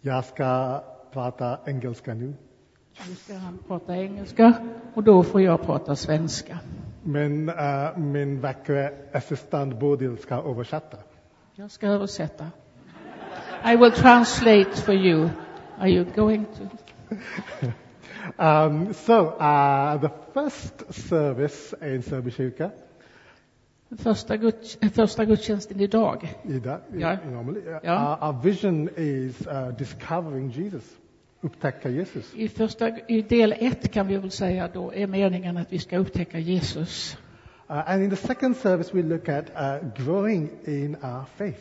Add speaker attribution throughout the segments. Speaker 1: Jag ska prata engelska nu,
Speaker 2: Nu ska han prata engelska och då får jag prata svenska.
Speaker 1: men eh, min vackra assistent Bodil ska översätta.
Speaker 2: Jag ska översätta. I will translate for you. Are you going to?
Speaker 1: Um, so, uh, the first service in Serbi kyrka,
Speaker 2: Första, gudst- första gudstjänsten idag.
Speaker 1: Ida,
Speaker 2: Ja.
Speaker 1: normally, uh,
Speaker 2: Ja.
Speaker 1: our, our vision is uh, discovering Jesus, upptäcka Jesus.
Speaker 2: I, första, I del ett kan vi väl säga då är meningen att vi ska upptäcka Jesus.
Speaker 1: Uh, and in the second service, we look at uh, growing in our faith.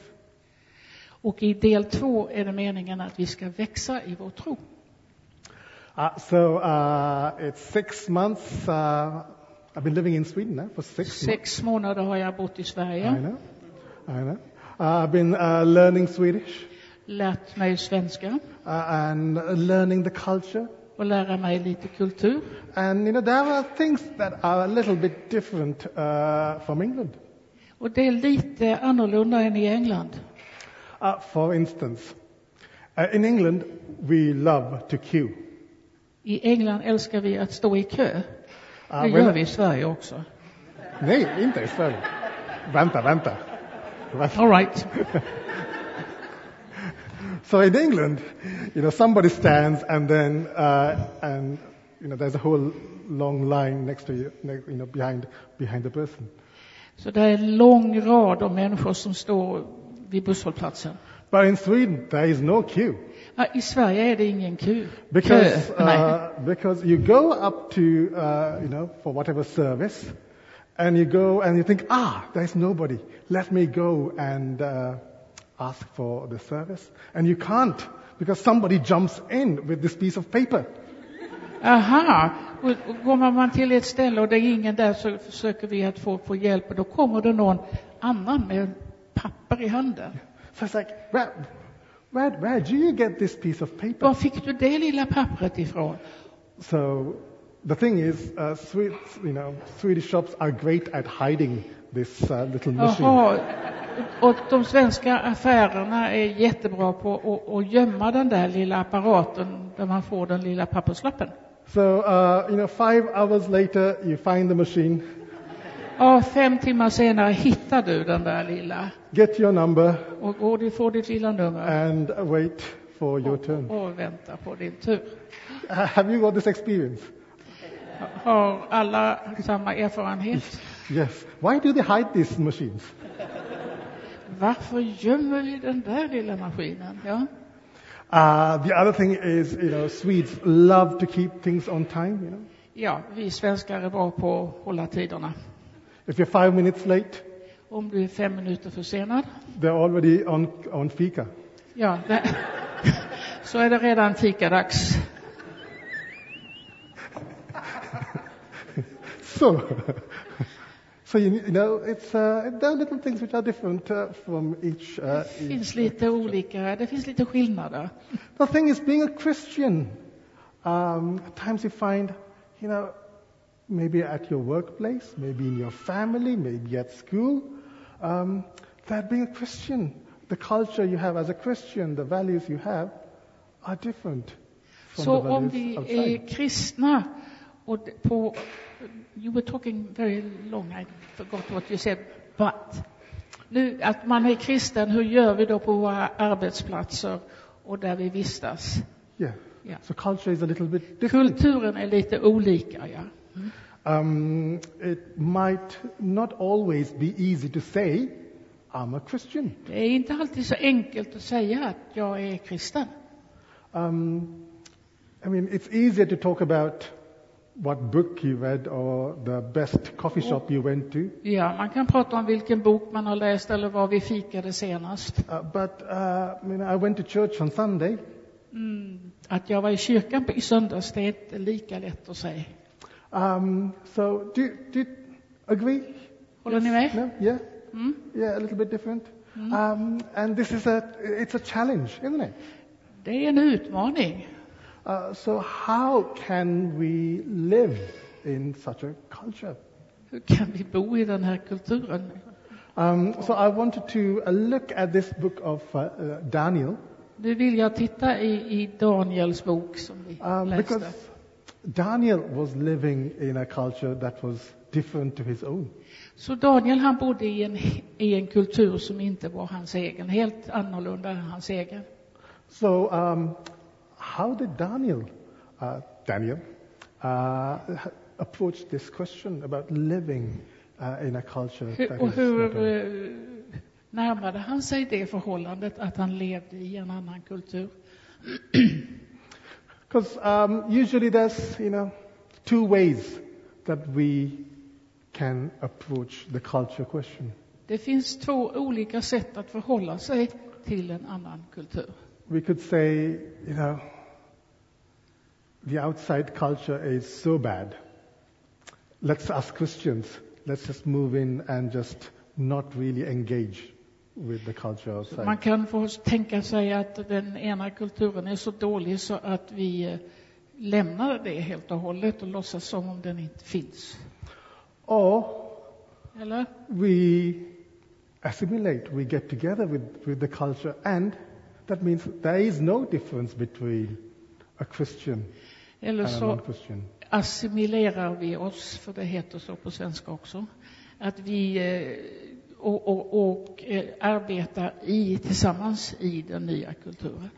Speaker 2: Och i del två är det meningen att vi ska växa i vår tro.
Speaker 1: Uh, so uh, it's six months. Uh, I've been living in Sweden now for six,
Speaker 2: Sex månader har jag bott i
Speaker 1: months. I
Speaker 2: Sverige,
Speaker 1: know. I know. Uh, I've been uh, learning Swedish
Speaker 2: lärt mig svenska
Speaker 1: uh, and learning the culture.
Speaker 2: och lära mig lite kultur.
Speaker 1: And you know there are things that are a little bit different uh, from England.
Speaker 2: Och det är lite annorlunda än i England.
Speaker 1: Uh, for instance, uh, in England we love to queue.
Speaker 2: I England älskar vi att stå i kö.
Speaker 1: Ja,
Speaker 2: det
Speaker 1: men-
Speaker 2: gör vi i Sverige också.
Speaker 1: Nej, Uh, inte i Sverige. Vänta, vänta. Vänta.
Speaker 2: All right.
Speaker 1: So in England, you know, somebody stands and then, uh, and, you know, there's a whole long line next to you, ne- you know, behind, behind the person.
Speaker 2: Så det är en lång rad av människor som står vid busshållplatsen.
Speaker 1: But in Sweden, there is no queue.
Speaker 2: Ja, I Sverige är det ingen ku.
Speaker 1: Because,
Speaker 2: kö. Nej.
Speaker 1: uh, because you go up to, uh, you know, for whatever service, and you go and you think, ah, there's nobody. Let me go and, uh, ask for the service. And you can't because somebody jumps in with this piece of paper.
Speaker 2: Aha. Och och går man till ett ställe och det är ingen där så försöker vi att få, få hjälp och då kommer det någon annan med papper i handen.
Speaker 1: So it's like, where, where, where do you get this piece of paper?
Speaker 2: Var fick du det lilla pappret ifrån?
Speaker 1: So the thing is, uh, Swedes, you know, Swedish shops are great at hiding this uh, little
Speaker 2: Oh,
Speaker 1: machine.
Speaker 2: Jaha. Och de svenska affärerna är jättebra på att, att gömma den där lilla apparaten där man får den lilla papperslappen.
Speaker 1: So, uh, you know, five hours later, you find the machine,
Speaker 2: Ja, fem timmar senare hittar du den där lilla
Speaker 1: get your number,
Speaker 2: och går du får ditt lilla nummer
Speaker 1: and wait for your turn.
Speaker 2: och väntar på din tur.
Speaker 1: Uh, have you got this experience?
Speaker 2: Har alla samma erfarenhet?
Speaker 1: Yes. Why do they hide these machines?
Speaker 2: Varför gömmer vi den där lilla maskinen? Ja.
Speaker 1: Uh, the other thing is, you know, Swedes love to keep things on time, you know.
Speaker 2: ja, vi svenskar är bra på att hålla tiderna.
Speaker 1: If you're five minutes late,
Speaker 2: Om du är fem minuter försenad,
Speaker 1: they're already on, on fika.
Speaker 2: ja, det, så är det redan fikadags.
Speaker 1: So, so you, you know, it's uh, there are little things which are different uh, from each. Uh,
Speaker 2: Det
Speaker 1: each.
Speaker 2: finns lite olika, det finns lite skillnader.
Speaker 1: The thing is, being a Christian, um, at times you find, you know, maybe at your workplace, maybe in your family, maybe at school, um, that being a Christian, the culture you have as a Christian, the values you have, are different from
Speaker 2: Så
Speaker 1: the
Speaker 2: om
Speaker 1: values
Speaker 2: vi
Speaker 1: outside.
Speaker 2: är kristna och d- på... You were talking very long, I forgot what you said. But, nu, att man är kristen, hur gör vi då på våra arbetsplatser och där vi vistas?
Speaker 1: Yeah.
Speaker 2: Yeah.
Speaker 1: So culture is a little bit different.
Speaker 2: Kulturen är lite olika, ja.
Speaker 1: Um, it might not always be easy to say, I'm a Christian.
Speaker 2: Det är inte alltid så enkelt att säga att jag är kristen.
Speaker 1: Um, I mean, it's easier to talk about what book you read or the best coffee shop you went to,
Speaker 2: Ja, man kan prata om vilken bok man har läst eller var vi fikade senast.
Speaker 1: uh, but uh, I mean, I went to church on Sunday.
Speaker 2: Mm, att jag var i kyrkan på, i söndags, det är inte lika lätt att säga.
Speaker 1: Um, so, do, do you agree?
Speaker 2: Håller ni med?
Speaker 1: No? Yeah?
Speaker 2: Mm.
Speaker 1: Yeah, a little bit different. Um, and this is a, it's a challenge, isn't it?
Speaker 2: Det är en utmaning.
Speaker 1: Uh, so how can we live in such a culture?
Speaker 2: Hur kan vi bo i den här kulturen?
Speaker 1: Um, so I wanted to uh, look at this book of uh, uh, Daniel,
Speaker 2: Nu vill jag titta i, i Daniels bok som vi
Speaker 1: Um,
Speaker 2: läste.
Speaker 1: because Daniel was living in a culture that was different to his own.
Speaker 2: Så Daniel han bodde i en, i en kultur som inte var hans egen, helt annorlunda än hans egen.
Speaker 1: So, um, how did Daniel, uh, Daniel, uh, h- approach this question about living uh, in a culture
Speaker 2: Hur-
Speaker 1: that
Speaker 2: Och
Speaker 1: is not
Speaker 2: hur
Speaker 1: own?
Speaker 2: eh, närmade han sig det förhållandet att han levde i en annan kultur?
Speaker 1: Because um, usually there's, you know, two ways that we can approach the culture question.
Speaker 2: Det finns två olika sätt att förhålla sig till en annan kultur.
Speaker 1: We could say, you know, the outside culture is so bad. Let's, us Christians, let's just move in and just not really engage with the culture outside.
Speaker 2: Man kan få tänka sig att den ena kulturen är så dålig så att vi eh, lämnar det helt och hållet och låtsas som om den inte finns.
Speaker 1: Or
Speaker 2: Eller?
Speaker 1: we assimilate, we get together with, with the culture, and that means there is no difference between a Christian
Speaker 2: Eller
Speaker 1: and a
Speaker 2: så
Speaker 1: non-Christian.
Speaker 2: assimilerar vi oss, för det heter så på svenska också, att vi eh, och, och, och eh, arbetar i, tillsammans i den nya kulturen.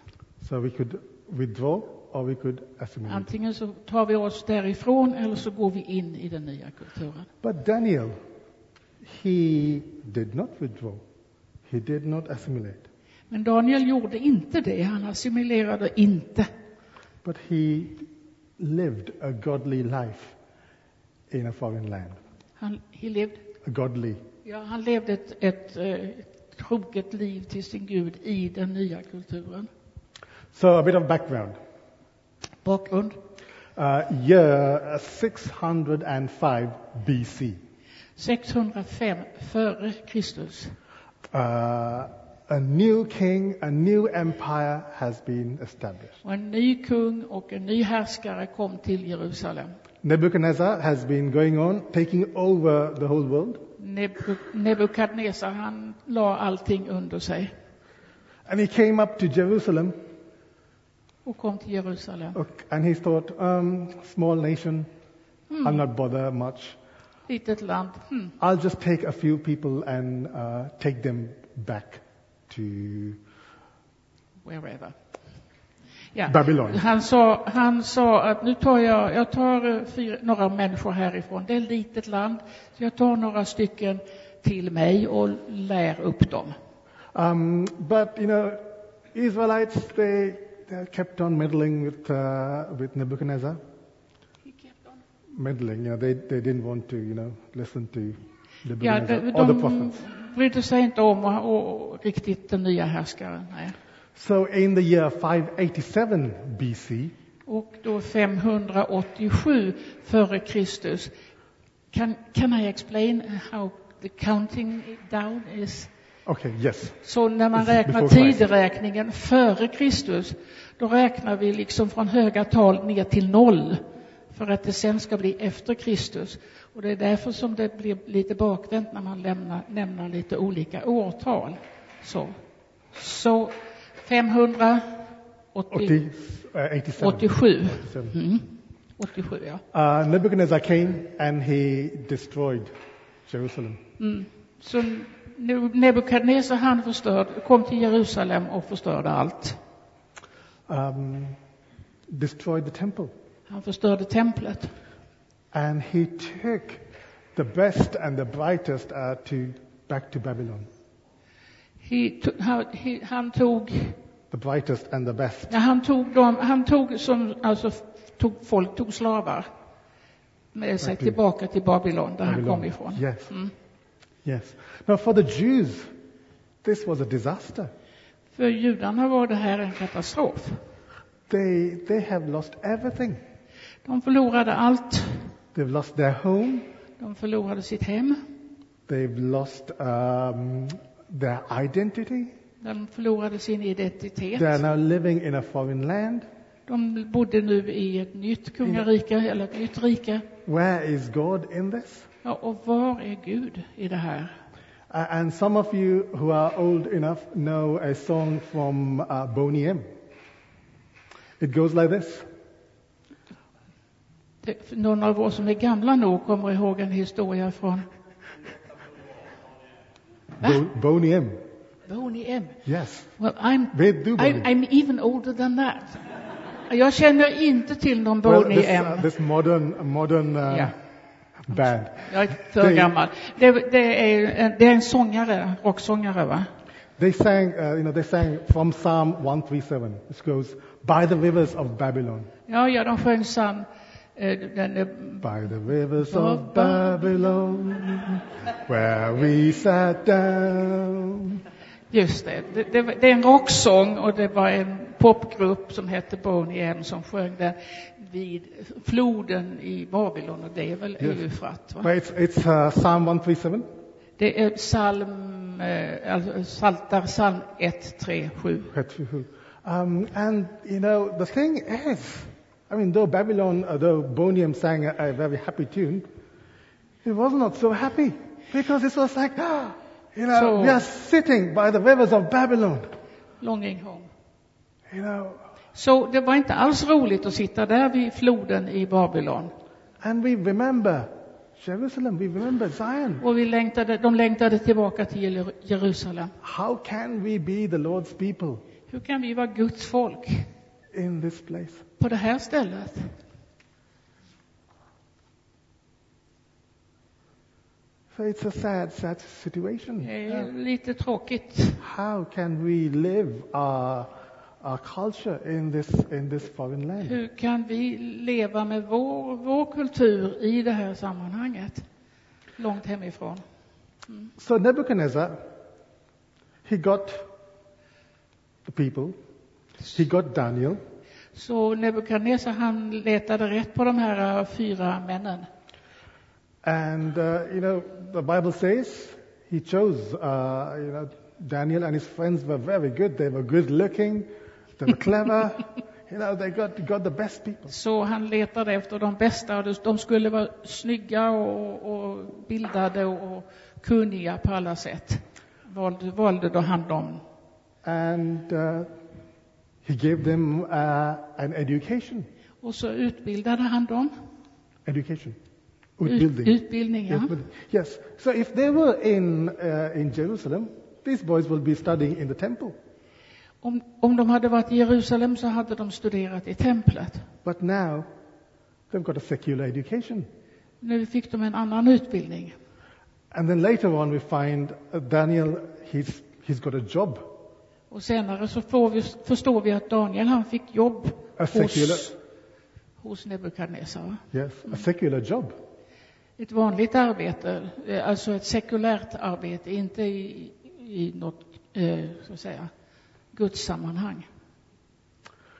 Speaker 1: So we could withdraw or we could assimilate.
Speaker 2: Antingen så tar vi oss därifrån eller så går vi in i den nya kulturen.
Speaker 1: But Daniel, he did not withdraw. He did not assimilate.
Speaker 2: Men Daniel gjorde inte det, han assimilerade inte.
Speaker 1: But he lived a godly life in a foreign land.
Speaker 2: Han, he lived,
Speaker 1: A godly.
Speaker 2: ja, han levde ett, ett eh, troget liv till sin Gud i den nya kulturen.
Speaker 1: So a bit of background.
Speaker 2: Bakgrund.
Speaker 1: Uh, year 605 BC.
Speaker 2: 605 före Kristus.
Speaker 1: Uh, a new king, a new empire has been established.
Speaker 2: Och en ny kung och en ny härskare kom till Jerusalem.
Speaker 1: Nebuchadnezzar has been going on, taking over the whole world.
Speaker 2: Nebu- Nebukadnessar, han la allting under sig
Speaker 1: And he came up to Jerusalem
Speaker 2: och kom till Jerusalem.
Speaker 1: Okay, and he thought, um, small nation, I'll not bother much.
Speaker 2: Litet land. Hmm.
Speaker 1: I'll just take a few people and uh, take them back to
Speaker 2: wherever. Ja.
Speaker 1: Babylon.
Speaker 2: Han sa, han sa att nu tar jag, jag tar eh, fyra, några människor härifrån, det är ett litet land, så jag tar några stycken till mig och lär upp dem.
Speaker 1: Um, but you know, Israelites they, they kept on meddling with uh, with Nebuchadnezzar, meddling. You know, they they didn't want to you know listen to
Speaker 2: Ja,
Speaker 1: Nebuchadnezzar
Speaker 2: de,
Speaker 1: or the
Speaker 2: de
Speaker 1: prophets.
Speaker 2: brydde sig inte om och, och riktigt den nya härskaren. Nej.
Speaker 1: So in the year 587 BC,
Speaker 2: Och då 587 före Kristus. Can, can I explain how the counting down is?
Speaker 1: okay, yes,
Speaker 2: Så när man
Speaker 1: Before
Speaker 2: räknar
Speaker 1: Christ.
Speaker 2: tideräkningen före Kristus, då räknar vi liksom från höga tal ner till noll. För att det sen ska bli efter Kristus. Och det är därför som det blir lite bakvänt när man lämnar, nämner lite olika årtal. Så, så 587.
Speaker 1: 80, uh, 87.
Speaker 2: Mm. 87 ja.
Speaker 1: Uh, Nebuchadnezzar came and he destroyed Jerusalem.
Speaker 2: Mm. Så nu- Nebukadnessar han förstörde, kom till Jerusalem och förstörde allt.
Speaker 1: Um, destroyed the temple.
Speaker 2: Han förstörde templet.
Speaker 1: And he took the best and the brightest uh, to, back to Babylon.
Speaker 2: He to, han, he, han tog,
Speaker 1: The brightest and the best.
Speaker 2: när han tog dem, han tog som, alltså tog folk, tog slavar med sig
Speaker 1: Verkligen.
Speaker 2: tillbaka till Babylon där han
Speaker 1: Babylon.
Speaker 2: kom ifrån.
Speaker 1: Yes.
Speaker 2: Mm.
Speaker 1: Yes. Now for the Jews, this was a disaster.
Speaker 2: För judarna var det här en katastrof.
Speaker 1: They, they have lost everything.
Speaker 2: De förlorade allt.
Speaker 1: They've lost their home.
Speaker 2: De förlorade sitt hem.
Speaker 1: They've lost um, their identity.
Speaker 2: De förlorade sin identitet.
Speaker 1: They are now living in a foreign land.
Speaker 2: De bodde nu i ett nytt kungarike, eller ett nytt rike.
Speaker 1: Where is God in this?
Speaker 2: Ja, och var är Gud i det här?
Speaker 1: Uh, and some of you who are old enough know a song from uh, Boney M. It goes like this.
Speaker 2: Det- för Någon av oss som är gamla nog kommer ihåg en historia från
Speaker 1: Bo- Boney M.
Speaker 2: Boney M.
Speaker 1: Yes.
Speaker 2: Well, I'm,
Speaker 1: Vet du Boney?
Speaker 2: I'm, I'm even older than that. Jag känner inte till någon
Speaker 1: Well,
Speaker 2: Boney
Speaker 1: this,
Speaker 2: M.
Speaker 1: uh, this modern, modern uh,
Speaker 2: Yeah.
Speaker 1: band.
Speaker 2: Jag är för
Speaker 1: they-
Speaker 2: gammal. Det, det, är, en- det är en sångare, rocksångare va?
Speaker 1: They sang, uh, you know, they sang from Psalm 137, which goes, by the rivers of Babylon.
Speaker 2: Ja, ja, de sjöng psalm, eh, den är
Speaker 1: By the rivers of
Speaker 2: Of
Speaker 1: Babylon, where we sat down.
Speaker 2: Just det. Det, det, var- det är en rocksång och det var en popgrupp som hette Boney M som sjöng den vid floden i Babylon och det är väl
Speaker 1: Yes.
Speaker 2: Eufrat va?
Speaker 1: Well, it's, it's uh, Psalm 137.
Speaker 2: Det är psalm, eh, alltså Saltar, psalm 1, 3, 7.
Speaker 1: Um, and, you know, the thing is, I mean, though Babylon, uh, though Bonium sang a, a very happy tune, it was not so happy because it was like, ah, you know,
Speaker 2: So-
Speaker 1: we are sitting by the rivers of Babylon.
Speaker 2: Långingholm.
Speaker 1: You know,
Speaker 2: Så det var inte alls roligt att sitta där vid floden i Babylon.
Speaker 1: and we remember Jerusalem, we remember Zion.
Speaker 2: Och vi längtade, de längtade tillbaka till Jeru- Jerusalem.
Speaker 1: How can we be the Lord's people
Speaker 2: Hur kan vi vara Guds folk
Speaker 1: in this place?
Speaker 2: på det här stället?
Speaker 1: So it's a sad, sad situation.
Speaker 2: Det är lite tråkigt.
Speaker 1: How can we live our, our culture in this, in this foreign land?
Speaker 2: Hur kan vi leva med vår, vår kultur i det här sammanhanget? Långt hemifrån.
Speaker 1: So Nebuchadnezzar, he got the people, he got Daniel,
Speaker 2: Så Nebukadnessar han letade rätt på de här eh, fyra männen.
Speaker 1: and uh, you know the Bible says he chose uh, you know Daniel and his friends were very good. They were good looking, they were clever. You know they got got the best people.
Speaker 2: Så han letade efter de bästa och de skulle vara snygga och, och bildade och kunniga på alla sätt. Valde, valde då han dem.
Speaker 1: and uh, he gave them uh, an education.
Speaker 2: Och så utbildade han dem.
Speaker 1: Education.
Speaker 2: Ut,
Speaker 1: Utbildning.
Speaker 2: utbildning, ja.
Speaker 1: Utbildning. Yes. So if they were in uh, in Jerusalem, these boys will be studying in the temple.
Speaker 2: Om, om de hade varit i Jerusalem så hade de studerat i templet.
Speaker 1: But now, they've got a secular education.
Speaker 2: Nu fick de en annan utbildning.
Speaker 1: And then later on, we find uh, Daniel. He's he's got a job,
Speaker 2: Och senare så får vi, förstår vi att Daniel han fick jobb
Speaker 1: a secular.
Speaker 2: hos, hos Nebukadnessar. va?
Speaker 1: Yes, a secular job.
Speaker 2: Ett vanligt arbete, eh, alltså ett sekulärt arbete, inte i, i något, eh, så att säga, gudssammanhang.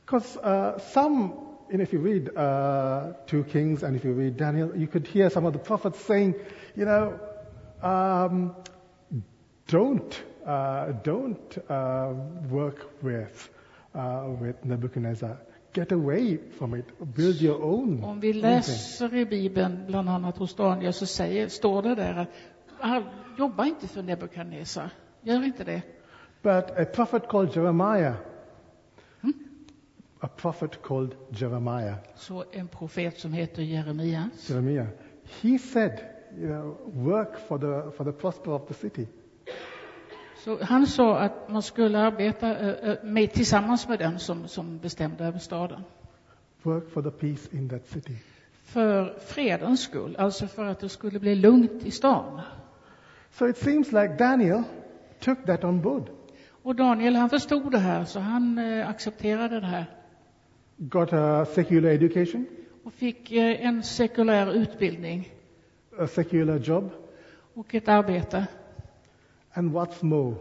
Speaker 1: Because uh, some, and if you read uh, Two Kings and if you read Daniel, you could hear some of the prophets saying, you know, um, don't uh, don't uh, work with uh, with Nebuchadnezzar. Get away from it. Build your own.
Speaker 2: Om vi läser i Bibeln, bland annat hos Daniel, så säger, står det där att "Ah, jobba inte för Nebukadnessar. Gör inte det.
Speaker 1: But a prophet called Jeremiah. A prophet called Jeremiah.
Speaker 2: Så en profet som heter Jeremia,
Speaker 1: Jeremiah. He said, you know, work for the for the prosper of the city.
Speaker 2: Så han sa att man skulle arbeta eh, eh, med, tillsammans med den som, som bestämde över staden.
Speaker 1: work for the peace in that city.
Speaker 2: För fredens skull, alltså för att det skulle bli lugnt i stan.
Speaker 1: So it seems like Daniel took that on board,
Speaker 2: Och Daniel han förstod det här, så han eh, accepterade det här.
Speaker 1: got a secular education,
Speaker 2: Och fick eh, en sekulär utbildning
Speaker 1: a secular job,
Speaker 2: och ett arbete.
Speaker 1: and what's more,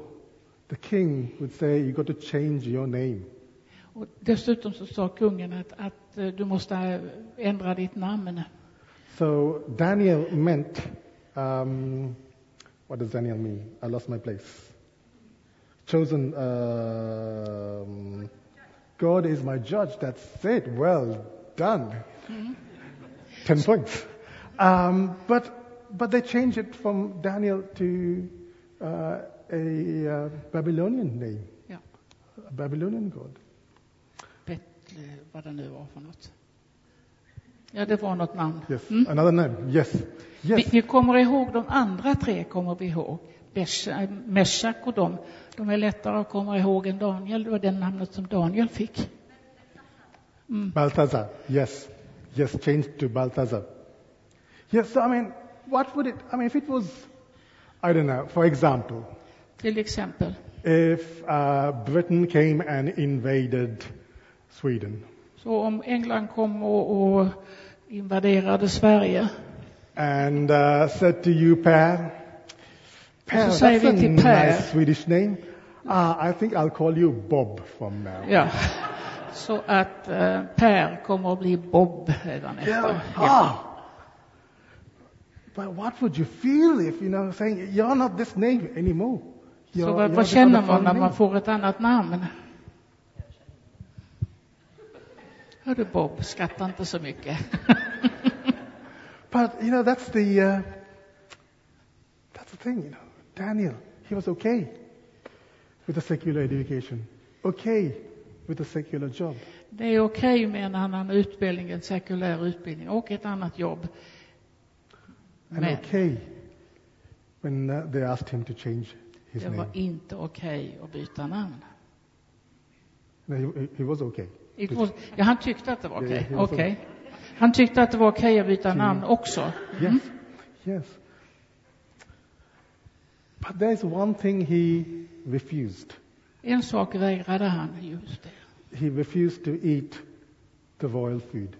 Speaker 1: the king would say, You got to change your name.
Speaker 2: Och dessutom så sa kungen att, att eh, du måste eh, ändra ditt namn.
Speaker 1: So Daniel meant, um, what does Daniel mean? I lost my place. Chosen, um, God is my judge. That's it. Well done. Ten points. Um, but but they changed it from Daniel to uh, a uh, Babylonian name,
Speaker 2: Ja.
Speaker 1: a Babylonian god.
Speaker 2: Betle, eh, vad det nu var för något. Ja, det var något namn.
Speaker 1: Yes,
Speaker 2: Mm.
Speaker 1: another name. Yes, yes.
Speaker 2: Vi, vi kommer ihåg de andra tre, kommer vi ihåg. Besha- eh, Meshach och de, de är lättare att komma ihåg än Daniel. Det var det namnet som Daniel fick. Mm.
Speaker 1: Balthazar, yes. Yes, changed to Balthazar. Yes, so I mean, what would it, I mean, if it was, I don't know, for example,
Speaker 2: Till exempel.
Speaker 1: if uh, Britain came and invaded Sweden,
Speaker 2: Så om England kom och, och invaderade Sverige,
Speaker 1: and uh, said to you, Per, Per, that's
Speaker 2: Så säger
Speaker 1: a
Speaker 2: vi till Per.
Speaker 1: nice Swedish name. Uh, I think I'll call you Bob from now.
Speaker 2: ja, så att eh, Per kommer att bli Bob hädanefter.
Speaker 1: Yeah.
Speaker 2: Ja.
Speaker 1: Ah. But what would you feel if, you know, saying, you're not this name anymore.
Speaker 2: Så
Speaker 1: You're-
Speaker 2: vad,
Speaker 1: you're
Speaker 2: vad
Speaker 1: the
Speaker 2: känner
Speaker 1: other
Speaker 2: man när
Speaker 1: family.
Speaker 2: man får ett annat namn? Hördu Bob, skratta inte så mycket.
Speaker 1: But, you know, that's the, uh, that's the thing, you know. Daniel, he was okay with a secular education. Okay with a secular job.
Speaker 2: Det är okej med en annan utbildning, en sekulär utbildning och ett annat jobb.
Speaker 1: And
Speaker 2: Men
Speaker 1: okay when uh, they asked him to change his
Speaker 2: det
Speaker 1: name.
Speaker 2: var inte okej att byta namn.
Speaker 1: No, he- he, he was okay.
Speaker 2: It was, ja, han tyckte att det var
Speaker 1: Ja, ja,
Speaker 2: okej.
Speaker 1: det var så.
Speaker 2: Okej. Han tyckte att det var okej att byta namn också.
Speaker 1: Yes, yes. But there's one thing he refused.
Speaker 2: En sak vägrade han, just det.
Speaker 1: He refused to eat the royal food.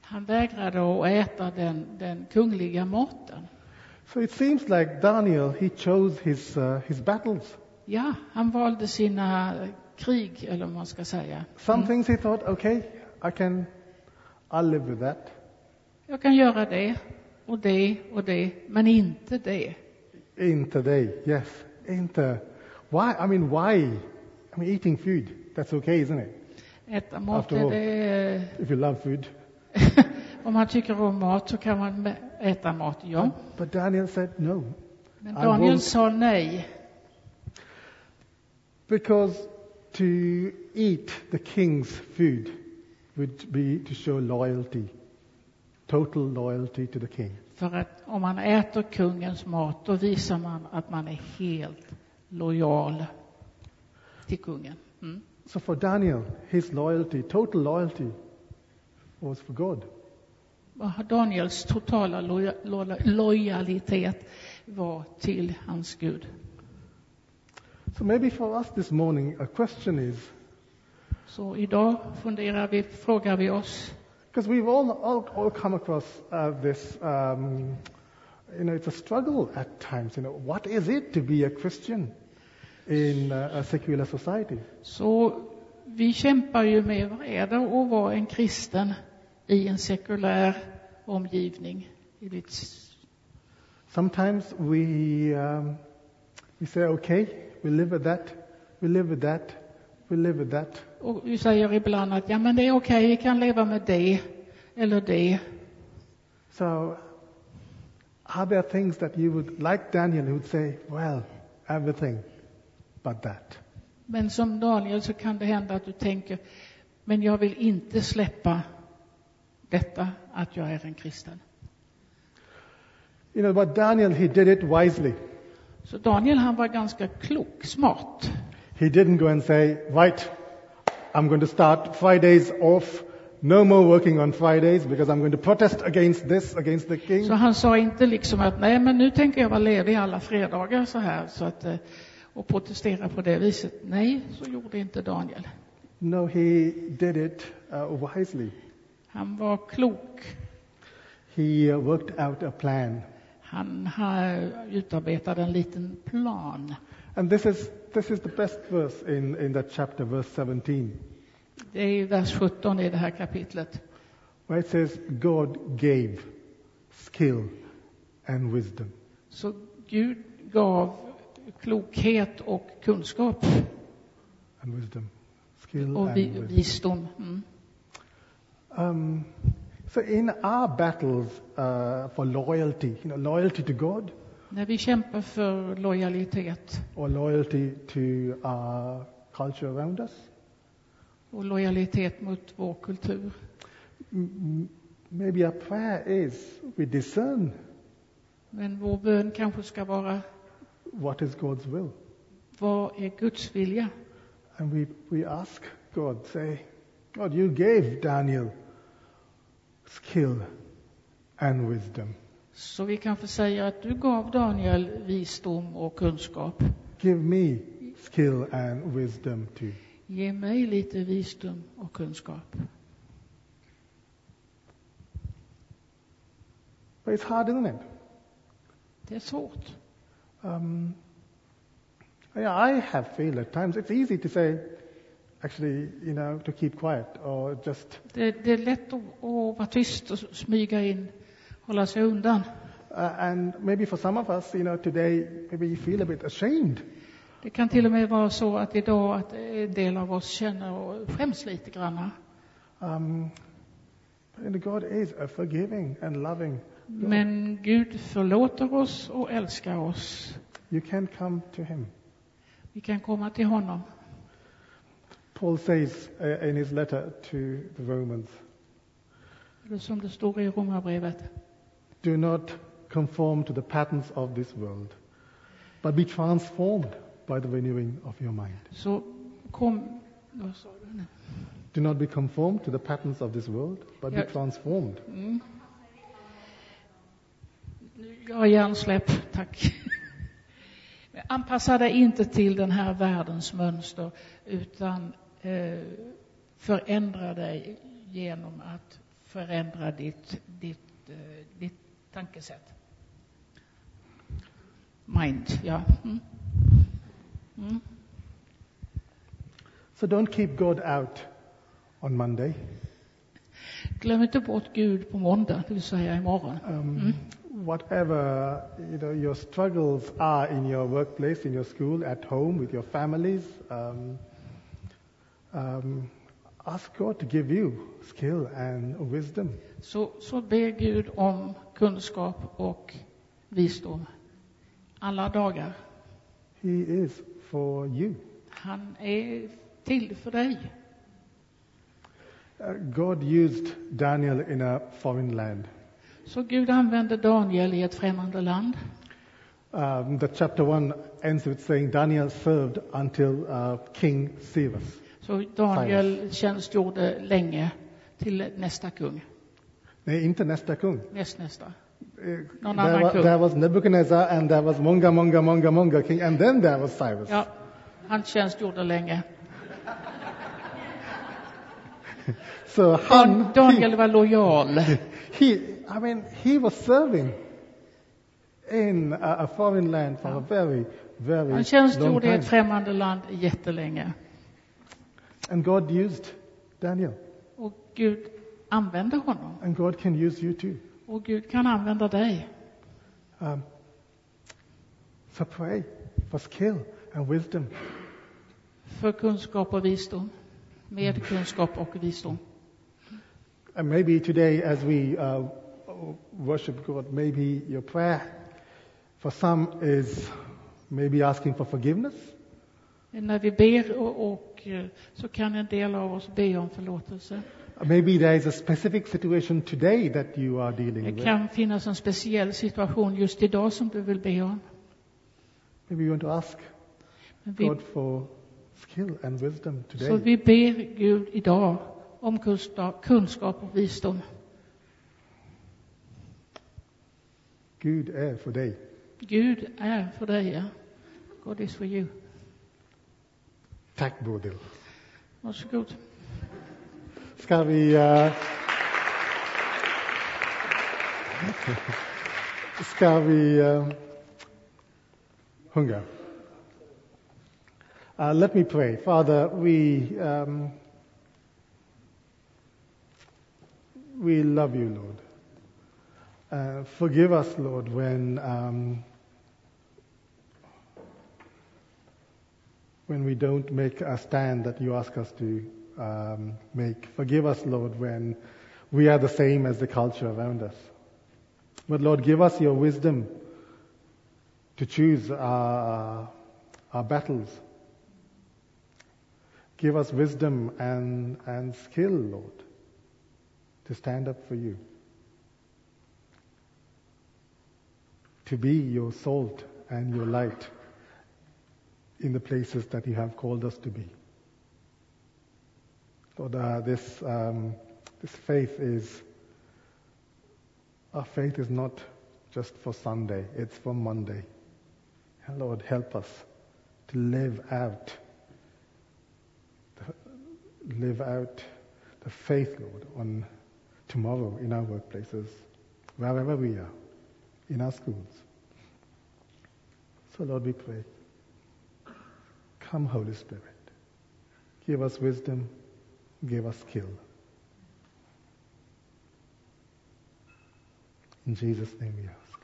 Speaker 2: Han vägrade att äta den, den kungliga maten.
Speaker 1: So it seems like Daniel, he chose his, uh, his battles.
Speaker 2: Ja, han valde sina krig, eller vad man ska säga.
Speaker 1: Some things he thought, okay, I can, I'll live with that.
Speaker 2: Jag kan göra det och det och det, men inte det.
Speaker 1: In today, yes, in the, why, I mean, why? I mean, eating food, that's okay, isn't it?
Speaker 2: Äta mat,
Speaker 1: After all.
Speaker 2: det är...
Speaker 1: If you love food.
Speaker 2: om man tycker om mat så kan man mä- äta mat, ja.
Speaker 1: But Daniel said no,
Speaker 2: Men
Speaker 1: I
Speaker 2: Daniel
Speaker 1: won't-
Speaker 2: sa nej.
Speaker 1: Because to eat the king's food would be to show loyalty, total loyalty to the king.
Speaker 2: För att om man äter kungens mat, då visar man att man är helt lojal till kungen. Mm.
Speaker 1: So for Daniel, his loyalty, total loyalty, was for God.
Speaker 2: Och Daniels totala loja, lola, lojalitet var till hans Gud.
Speaker 1: So maybe for us this morning, a question is
Speaker 2: Så idag funderar vi, frågar vi oss,
Speaker 1: because we've all, all, all come across uh, this, um, you know, it's a struggle at times. You know, what is it to be a Christian in uh, a secular society?
Speaker 2: så vi kämpar ju med vad är det att vara en kristen i en sekulär omgivning. I ditt-
Speaker 1: Sometimes we, um, we say, okay, we live with that, we live with that, we live with that.
Speaker 2: Och vi säger ibland att ja men det är okej, vi kan leva med det eller det.
Speaker 1: So, are there things that you would, like Daniel, who would say, well, everything but that?
Speaker 2: Men som Daniel så kan det hända att du tänker, men jag vill inte släppa detta att jag är en kristen.
Speaker 1: You know, but Daniel, he did it wisely.
Speaker 2: Så Daniel han var ganska klok, smart.
Speaker 1: He didn't go and say, right, I'm going to start Fridays off, no more working on Fridays because I'm going to protest against this, against the king.
Speaker 2: Så han sa inte liksom att nej men nu tänker jag vara ledig alla fredagar så här så att, eh, och protestera på det viset. Nej, så gjorde inte Daniel.
Speaker 1: No, he did it uh, wisely.
Speaker 2: Han var klok.
Speaker 1: He uh, worked out a plan.
Speaker 2: Han har utarbetat en liten plan.
Speaker 1: And this is, this is the best verse in, in that chapter, verse 17,
Speaker 2: Det är ju vers 17 i det här kapitlet.
Speaker 1: where it says, God gave skill and wisdom.
Speaker 2: Så Gud gav klokhet och kunskap
Speaker 1: And wisdom. Skill
Speaker 2: och vi,
Speaker 1: and wisdom.
Speaker 2: visdom. Mm.
Speaker 1: Um, so in our battles uh, for loyalty, you know, loyalty to God,
Speaker 2: När vi kämpar för lojalitet
Speaker 1: or loyalty to our culture around us,
Speaker 2: och lojalitet mot vår kultur
Speaker 1: m- m- maybe our prayer is we discern
Speaker 2: Men vår bön kanske ska vara,
Speaker 1: what is God's will.
Speaker 2: vad är Guds vilja?
Speaker 1: And we, we ask God, say, God, you gave Daniel skill and wisdom.
Speaker 2: Så vi kanske säger att du gav Daniel visdom och kunskap.
Speaker 1: Give me skill and wisdom too.
Speaker 2: Ge mig lite visdom och kunskap.
Speaker 1: But it's hard, isn't it?
Speaker 2: Det är svårt.
Speaker 1: Um, yeah, I have failed at times. It's easy to say, actually, you know, to keep quiet or just,
Speaker 2: Det, det är lätt att, att vara tyst och smyga in, hålla sig undan.
Speaker 1: uh, and maybe for some of us, you know, today, maybe you feel a bit ashamed
Speaker 2: Det kan till och med vara så att idag att en del av oss känner och skäms lite granna.
Speaker 1: Um, and God is a forgiving and loving. God.
Speaker 2: Men Gud förlåter oss och älskar oss.
Speaker 1: You can come to Him.
Speaker 2: Vi kan komma till honom.
Speaker 1: Paul says uh, in his letter to the Romans,
Speaker 2: Eller som det står i Romarbrevet.
Speaker 1: "Do not conform to the patterns of this world, but be transformed by the renewing of your mind."
Speaker 2: Så kom... Vad sa du nu?
Speaker 1: Do not be conformed to the patterns of this world, but be
Speaker 2: Yeah.
Speaker 1: transformed.
Speaker 2: Mm. Nu- Jag har hjärnsläpp, tack. Men Anpassa dig inte till den här världens mönster utan eh, förändra dig genom att förändra ditt, ditt, eh, ditt tankesätt. Mind, ja. Mm. Mm.
Speaker 1: So don't keep God out on Monday.
Speaker 2: Glöm inte bort Gud på måndag, det vill säga imorgon.
Speaker 1: Um, Whatever you know, your struggles are in your workplace, in your school, at home, with your families, um, um, ask God to give you skill and wisdom.
Speaker 2: Så, så ber Gud om kunskap och visdom alla dagar.
Speaker 1: He is for you.
Speaker 2: Han är till för dig.
Speaker 1: Uh, God used Daniel in a foreign land.
Speaker 2: Så Gud använde Daniel i ett främmande land.
Speaker 1: Um, the chapter one ends with saying Daniel served until uh, King Cyrus.
Speaker 2: Så Daniel tjänstgjorde länge till nästa kung,
Speaker 1: Nej, inte nästa kung.
Speaker 2: nästnästa.
Speaker 1: Eh,
Speaker 2: Någon
Speaker 1: there,
Speaker 2: annan
Speaker 1: wa-
Speaker 2: kung.
Speaker 1: there was Nebuchadnezzar and there was Monga Monga Monga Monga king and then there was Cyrus.
Speaker 2: Ja, han tjänstgjorde länge.
Speaker 1: So
Speaker 2: Dan-
Speaker 1: Han,
Speaker 2: Daniel var lojal.
Speaker 1: he, he, I mean, he was serving in a, a foreign land for a very, very
Speaker 2: Han
Speaker 1: long
Speaker 2: tjänstgjorde i
Speaker 1: time.
Speaker 2: ett främmande land jättelänge.
Speaker 1: And God used Daniel.
Speaker 2: Och Gud använde honom.
Speaker 1: And God can use you too.
Speaker 2: Och Gud kan använda dig.
Speaker 1: Um, so pray for skill and wisdom.
Speaker 2: För kunskap och visdom. Med kunskap och visdom.
Speaker 1: And maybe today, as we uh, worship God, maybe your prayer for some is maybe asking for forgiveness.
Speaker 2: När vi ber och, och eh, så kan en del av oss be om förlåtelse.
Speaker 1: Maybe there is a specific situation today that you are dealing
Speaker 2: Det
Speaker 1: with.
Speaker 2: kan finnas en speciell situation just idag som du vill be om.
Speaker 1: Maybe you want to ask
Speaker 2: Men vi,
Speaker 1: God for skill and wisdom
Speaker 2: så
Speaker 1: today.
Speaker 2: vi ber Gud idag om kunskap, kunskap och visdom.
Speaker 1: Good air for day.
Speaker 2: Gud är för dig. ja. God is for you.
Speaker 1: Tack Bodil.
Speaker 2: Varsågod.
Speaker 1: Ska vi... eh, ska vi eh, sjunga? Uh, let me pray. Father, we, um, we love you, Lord. Uh, forgive us, Lord, when, um, when we don't make a stand that you ask us to um, make. Forgive us, Lord, when we are the same as the culture around us. But Lord, give us your wisdom to choose our, our battles. Give us wisdom and, and skill, Lord, to stand up for you, to be your salt and your light in the places that you have called us to be. Lord, uh, this, um, this faith is, our faith is not just for Sunday, it's for Monday. And Lord, help us to live out, the, live out the faith, Lord, on tomorrow in our workplaces, wherever we are, in our schools. So Lord, we pray. Come, Holy Spirit. Give us wisdom. Give us skill. In Jesus' name we ask.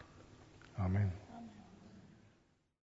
Speaker 1: Amen.